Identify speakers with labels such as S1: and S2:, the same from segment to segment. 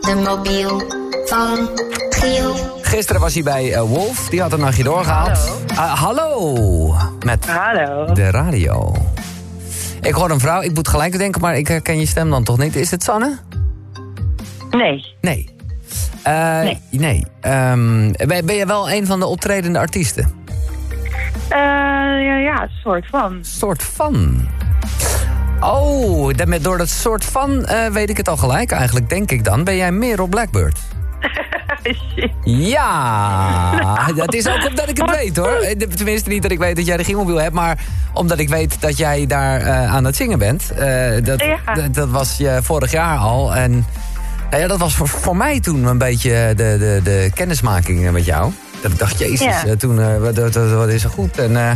S1: de mobiel van Giel.
S2: Gisteren was hij bij eh, Wolf, die had een nachtje doorgehaald. Ah, hallo, met
S3: Hallo.
S2: de radio. Ik hoor een vrouw, ik moet gelijk denken, maar ik herken je stem dan toch niet. Is het Sanne?
S3: Nee,
S2: Nee. Eh, nee. Ehm, ben, ben je wel een van de optredende artiesten?
S3: Eh, ja, ja, soort van.
S2: Soort van. Oh, dat met- door dat soort van eh, weet ik het al gelijk eigenlijk, denk ik dan. Ben jij Merel Blackbird?
S3: Shit.
S2: Ja, dat is ook omdat ik het
S3: Wat
S2: weet hoor. Eh, Tenminste niet dat ik weet dat jij de Giemobiel hebt, maar omdat ik weet dat jij daar eh, aan het zingen bent. Eh, dat,
S3: Ja.
S2: dat, dat was je vorig jaar al en nou ja, dat was voor, voor mij toen een beetje de, de, de kennismaking eh, met jou. Dat ik dacht, jezus,
S3: Ja.
S2: eh, toen eh, wat, wat, wat- wat is er goed en... eh,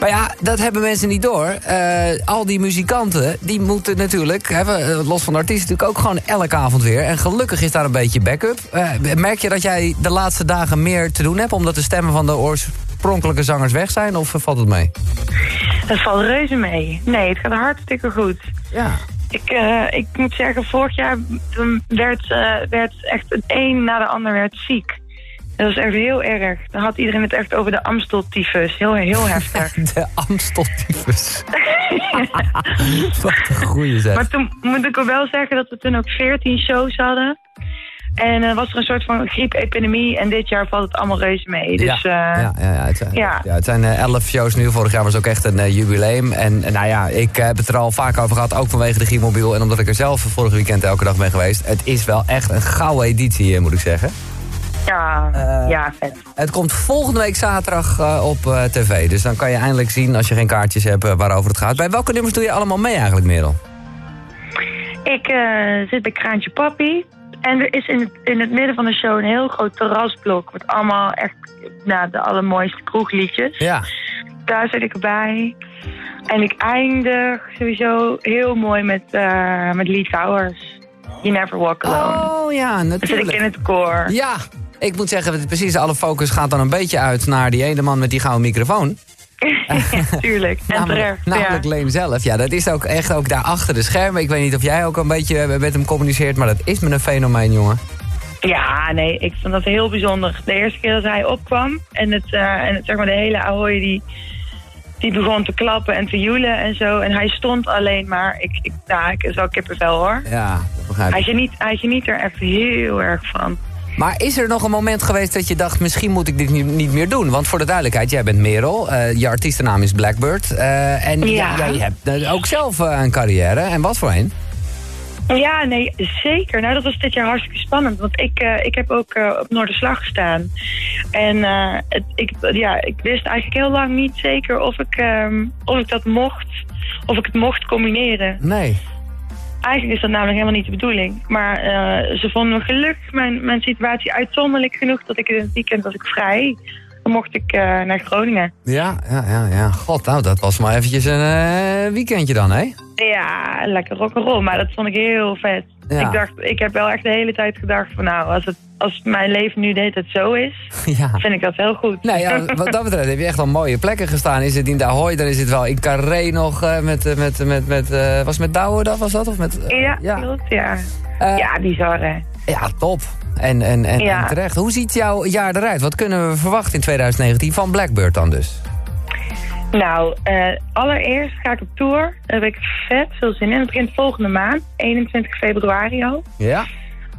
S2: maar ja, dat hebben mensen niet door. Eh, al die muzikanten, die moeten natuurlijk, hè, we, eh, los van de artiesten, natuurlijk ook gewoon elke avond weer. En gelukkig is daar een beetje backup. Eh, merk je dat jij de laatste dagen meer te doen hebt, omdat de stemmen van de oorspronkelijke zangers weg zijn? Of eh, valt het mee?
S3: Dat valt reuze mee. Nee, het gaat hartstikke goed.
S2: Ja.
S3: Ik, eh, ik moet zeggen, vorig jaar toen werd, eh, werd echt het een na de ander werd ziek. Dat was echt heel erg. Dan had iedereen het echt over de Amstel-tyfus. Heel, heel heftig.
S2: De Amsteltyfus. Wat een goeie zeg.
S3: Maar toen moet ik wel zeggen dat we toen ook 14 shows hadden. En eh, was er een soort van griepepidemie. En dit jaar valt het allemaal reuze mee. Dus
S2: ja,
S3: eh,
S2: ja, ja, ja, het zijn, ja.
S3: ja.
S2: het zijn eh, elf shows nu. Vorig jaar was ook echt een eh, jubileum. En eh, nou ja, ik eh, heb het er al vaak over gehad, ook vanwege de Giermobiel. En omdat ik er zelf vorig weekend elke dag ben geweest. Het is wel echt een gouden editie, eh, moet ik zeggen.
S3: ja,
S2: Eh,
S3: ja, vet.
S2: Het komt volgende week zaterdag eh, op eh, tv. Dus dan kan je eindelijk zien, als je geen kaartjes hebt, eh, waarover het gaat. Bij welke nummers doe je allemaal mee eigenlijk, Merel?
S3: Ik eh, zit bij Kraantje Papi. En er is in het, in het midden van de show een heel groot terrasblok. Met allemaal echt nou, de allermooiste kroegliedjes.
S2: Ja.
S3: Daar zit ik erbij. En ik eindig sowieso heel mooi met, eh met Lee Towers. You Never Walk Alone.
S2: Oh ja,
S3: Dan zit ik in
S2: natuurlijk.
S3: het koor.
S2: Ja, ik moet zeggen, dat precies alle focus gaat dan een beetje uit naar die ene man met die gouden microfoon.
S3: Tuurlijk. En
S2: Namelijk,
S3: terecht.
S2: namelijk
S3: ja.
S2: Leem zelf. Ja, dat is ook echt ook daar achter de schermen. Ik weet niet of jij ook een beetje eh, met hem communiceert, maar dat is me een fenomeen, jongen.
S3: ja, nee, ik vond dat heel bijzonder. De eerste keer dat hij opkwam en, het, eh, en het, zeg maar de hele ahoy die, die begon te klappen en te joelen en zo. En hij stond alleen maar, ik, ik, nou, ik is wel kippenvel hoor.
S2: Ja, dat begrijp
S3: Hij
S2: ik.
S3: geniet, hij geniet er echt heel erg van.
S2: Maar is er nog een moment geweest dat je dacht, misschien moet ik dit niet, niet meer doen? Want voor de duidelijkheid, jij bent Merel, eh, je artiestennaam is Blackbird. eh, en
S3: Ja.
S2: jij hebt eh, ook zelf eh, een carrière. En wat voor een?
S3: Ja, nee, zeker. Nou, dat was dit jaar hartstikke spannend. Want ik, eh, ik heb ook eh, op Noorderslag gestaan. En eh, het, ik, ja, ik wist eigenlijk heel lang niet zeker of ik, ehm, of ik dat mocht. Of ik het mocht combineren.
S2: Nee.
S3: Eigenlijk is dat namelijk helemaal niet de bedoeling. Maar eh, ze vonden me gelukkig mijn, mijn situatie uitzonderlijk genoeg dat ik in het weekend was ik vrij. Dan mocht ik eh, naar Groningen.
S2: Ja, ja, ja, ja. God, nou, dat was maar eventjes een eh, weekendje dan, hè?
S3: Ja, lekker rock'n'roll. Maar dat vond ik heel vet.
S2: Ja.
S3: Ik, dacht, ik heb wel echt de hele tijd gedacht van nou, als, het, als mijn leven nu de hele tijd zo is,
S2: ja.
S3: vind ik dat heel goed.
S2: Nou ja, wat dat betreft heb je echt al mooie plekken gestaan. Is het in de Ahoy, dan is het wel in Carré nog eh, met, eh, met, met, met eh, was het met Douwe dat, was dat? Of met, eh,
S3: Ja,
S2: ja.
S3: klopt, ja.
S2: Eh,
S3: ja, bizar hè.
S2: Ja, top. En, en, en,
S3: Ja.
S2: en terecht. Hoe ziet jouw jaar eruit? Wat kunnen we verwachten in 2019 van Blackbird dan dus?
S3: Nou, eh, allereerst ga ik op tour. Daar heb ik vet veel zin in. Het begint volgende maand, 21 februari al.
S2: Ja.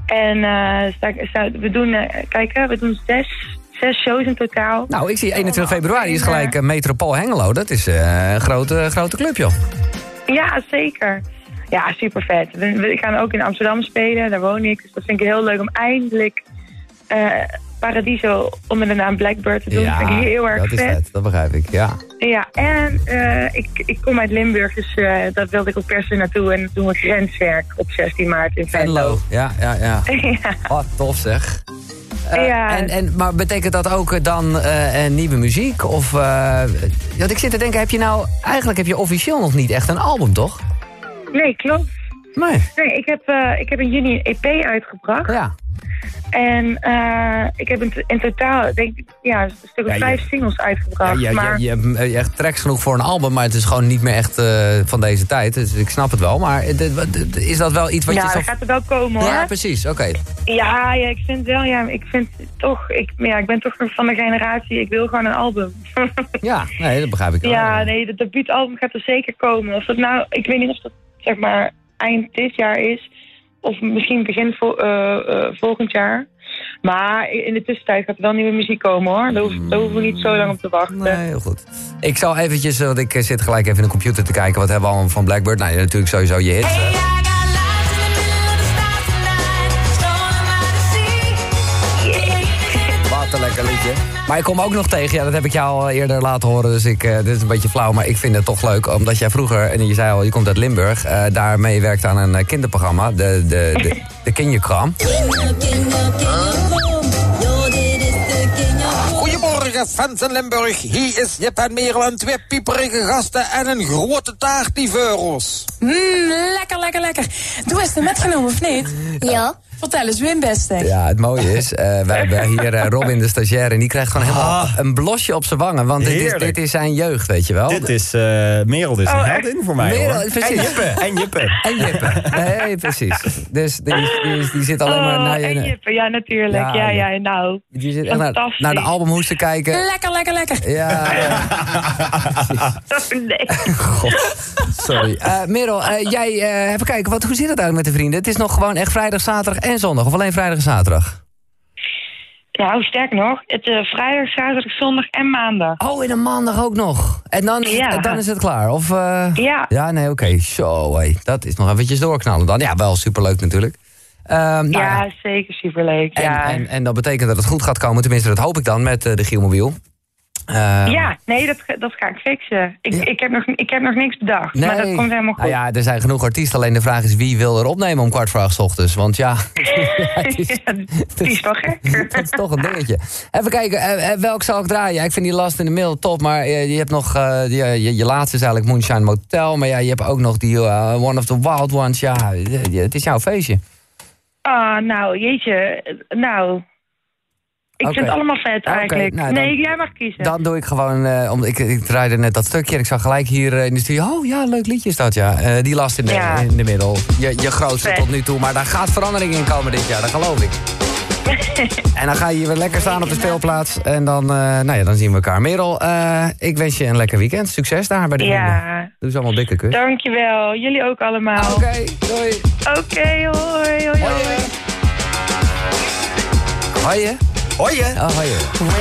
S3: En eh, sta ik- sta- we doen, eh, kijk hè, we doen zes, zes shows in totaal.
S2: Nou, ik zie 21 februari is
S3: alleen,
S2: gelijk eh, Metropool Hengelo. Dat is eh, een grote, grote club, joh.
S3: Ja, zeker. Ja, super vet. We, we gaan ook in Amsterdam spelen, daar woon ik. Dus dat vind ik heel leuk om eindelijk eh, Paradiso onder de naam Blackbird te doen. dat vind ik heel erg
S2: dat is
S3: vet.
S2: vet. Dat begrijp ik, ja.
S3: Ja, en eh, ik, ik kom uit Limburg, dus eh, dat wilde ik ook per se naartoe. En doen we grenswerk op 16 maart in Venlo.
S2: Ja, ja, ja.
S3: ja.
S2: Wat tof zeg. Eh,
S3: Ja.
S2: en, en, maar betekent dat ook eh, dan eh, eh, nieuwe muziek? Of, eh, want ik zit te denken, heb je nou... Eigenlijk heb je officieel nog niet echt een album, toch?
S3: Nee, klopt.
S2: Nee.
S3: Nee, ik heb, eh, ik heb in juni een EP E uitgebracht.
S2: Ja.
S3: En eh, ik heb in, t- in totaal, denk ik, ja, een stuk of
S2: Ja, je-
S3: vijf singles
S2: Ja,
S3: uitgebracht.
S2: je,
S3: maar
S2: je, je hebt eh, echt tracks genoeg voor een album, maar het is gewoon niet meer echt eh, van deze tijd. Dus ik snap het wel, maar eh, dit- wat- dit- is dat wel iets wat
S3: ja,
S2: je
S3: dat
S2: zou...
S3: Nou, gaat er wel komen hoor.
S2: Ja, precies, oké.
S3: Ja, ja, ik vind wel, ja, ik vind toch, ik, ja, ik ben toch nog van de generatie, ik wil gewoon een album.
S2: Ja, nee, dat begrijp ik wel.
S3: ja, nee, dat debuutalbum gaat er zeker komen. Of dat nou, ik weet niet of dat zeg maar eind dit jaar is, of misschien begin vo- eh, eh, volgend jaar. Maar in de tussentijd gaat er wel nieuwe muziek komen hoor. Daar, hoef, daar hoeven we niet zo lang op te wachten.
S2: Nee, heel goed. Eh, Ik zal eventjes, eh, want ik eh, zit gelijk even in de computer te kijken. Wat hebben we allemaal van Blackbird? Nou, natuurlijk sowieso je hits. hè. Wat een lekker liedje. Maar ik kom ook nog tegen, ja, dat heb ik jou al eerder laten horen. Dus ik, eh, dit is een beetje flauw, maar ik vind het toch leuk. Omdat jij vroeger, en je zei al, je komt uit Limburg. eh daarmee werkt aan een eh, kinderprogramma, de, de, de, de Kinderkram.
S4: Goedemorgen, fans in Limburg. Hier is Jip en Merel en twee pieperige gasten en een grote taart die veurels.
S5: Mmm, lekker, lekker, lekker. Doe eens de metgenomen, of niet?
S1: Ja.
S5: Vertel eens, Wim Beste.
S2: Ja, het mooie is, eh, wij hebben hier eh, Robin de stagiair... en die krijgt gewoon helemaal een blosje op zijn wangen. Want dit is,
S6: Ah. Heerlijk.
S2: dit is zijn jeugd, weet je wel.
S6: Dit is eh Merel, dit is een
S3: Oh, echt?
S6: heldin voor mij.
S2: Merel,
S6: hoor.
S2: precies.
S6: En Jippe. En Jippe.
S2: En Jippe. Nee, precies. Dus die, is- die, is- die zit alleen maar
S3: Oh,
S2: naar
S3: en
S2: je...
S3: Jippe, ja
S2: Ja,
S3: natuurlijk. Ja, ja,
S2: ja.
S3: nou.
S2: Die zit echt naar,
S3: Fantastisch.
S2: naar de albumhoes te kijken.
S5: Lekker, lekker, lekker.
S2: Ja, ja.
S3: Nee.
S2: sorry. Eh, Merel, eh, jij, eh, even kijken, wat, hoe zit het eigenlijk met de vrienden? Het is nog gewoon echt vrijdag, zaterdag en zondag. Of alleen vrijdag en zaterdag?
S3: Nou, sterk nog. Het eh, vrijdag, zaterdag, zondag en maandag.
S2: Oh, en een maandag ook nog. En dan, is-
S3: Ja.
S2: en dan is het klaar? Of, eh,
S3: Ja.
S2: Ja, nee, oké. Zo, hé. dat is nog eventjes doorknallen dan. Ja, wel superleuk natuurlijk. Ehm, nou ja.
S3: Ja, zeker superleuk.
S2: En,
S3: ja.
S2: en, en dat betekent dat het goed gaat komen. Tenminste, dat hoop ik dan met eh, de Gielmobiel. Eh,
S3: ja, nee, dat, ga- dat ga ik fixen. Ik,
S2: Ja.
S3: ik, heb, nog, ik heb nog niks bedacht, maar dat komt helemaal goed.
S2: Nou ja, er zijn genoeg artiesten. Alleen de vraag is wie wil er opnemen om kwart voor acht 's ochtends. Want ja, het is-
S3: Ja, die is wel gek.
S2: dat is toch een dingetje. Even kijken, eh, eh, welk zal ik draaien? Ja, ik vind die last in de mail top, maar eh, je hebt nog... eh, die, eh, je, je laatste is eigenlijk Moonshine Motel. Maar ja, je hebt ook nog die eh, One of the Wild Ones. Ja, eh, het is jouw feestje.
S3: Ah, nou, jeetje. Nou, ik
S2: Oké.
S3: vind het allemaal vet
S2: Oké,
S3: eigenlijk.
S2: nou, dan-
S3: nee, jij mag kiezen.
S2: Dan doe ik gewoon... eh, om, ik, ik draaide net dat stukje en ik zag gelijk hier eh, in de studio... Oh ja, leuk liedje is dat, ja. Eh, die last in de,
S3: Ja.
S2: in de middel. Je, je grootste
S3: Vet.
S2: tot nu toe. Maar daar gaat verandering in komen dit jaar, dat geloof ik. en dan ga je hier weer lekker staan op de speelplaats. En dan, eh, nou ja, dan zien we elkaar. Merel, eh, ik wens je een lekker weekend. Succes daar bij de vrienden.
S3: ja,
S2: Doe ze allemaal dikke kus.
S3: dankjewel. Jullie ook allemaal.
S2: Oké, doei.
S3: Oké, hoi, hoi, hoi.
S2: Hoi je.
S6: Hoi, hè?
S2: Oh, hoi je.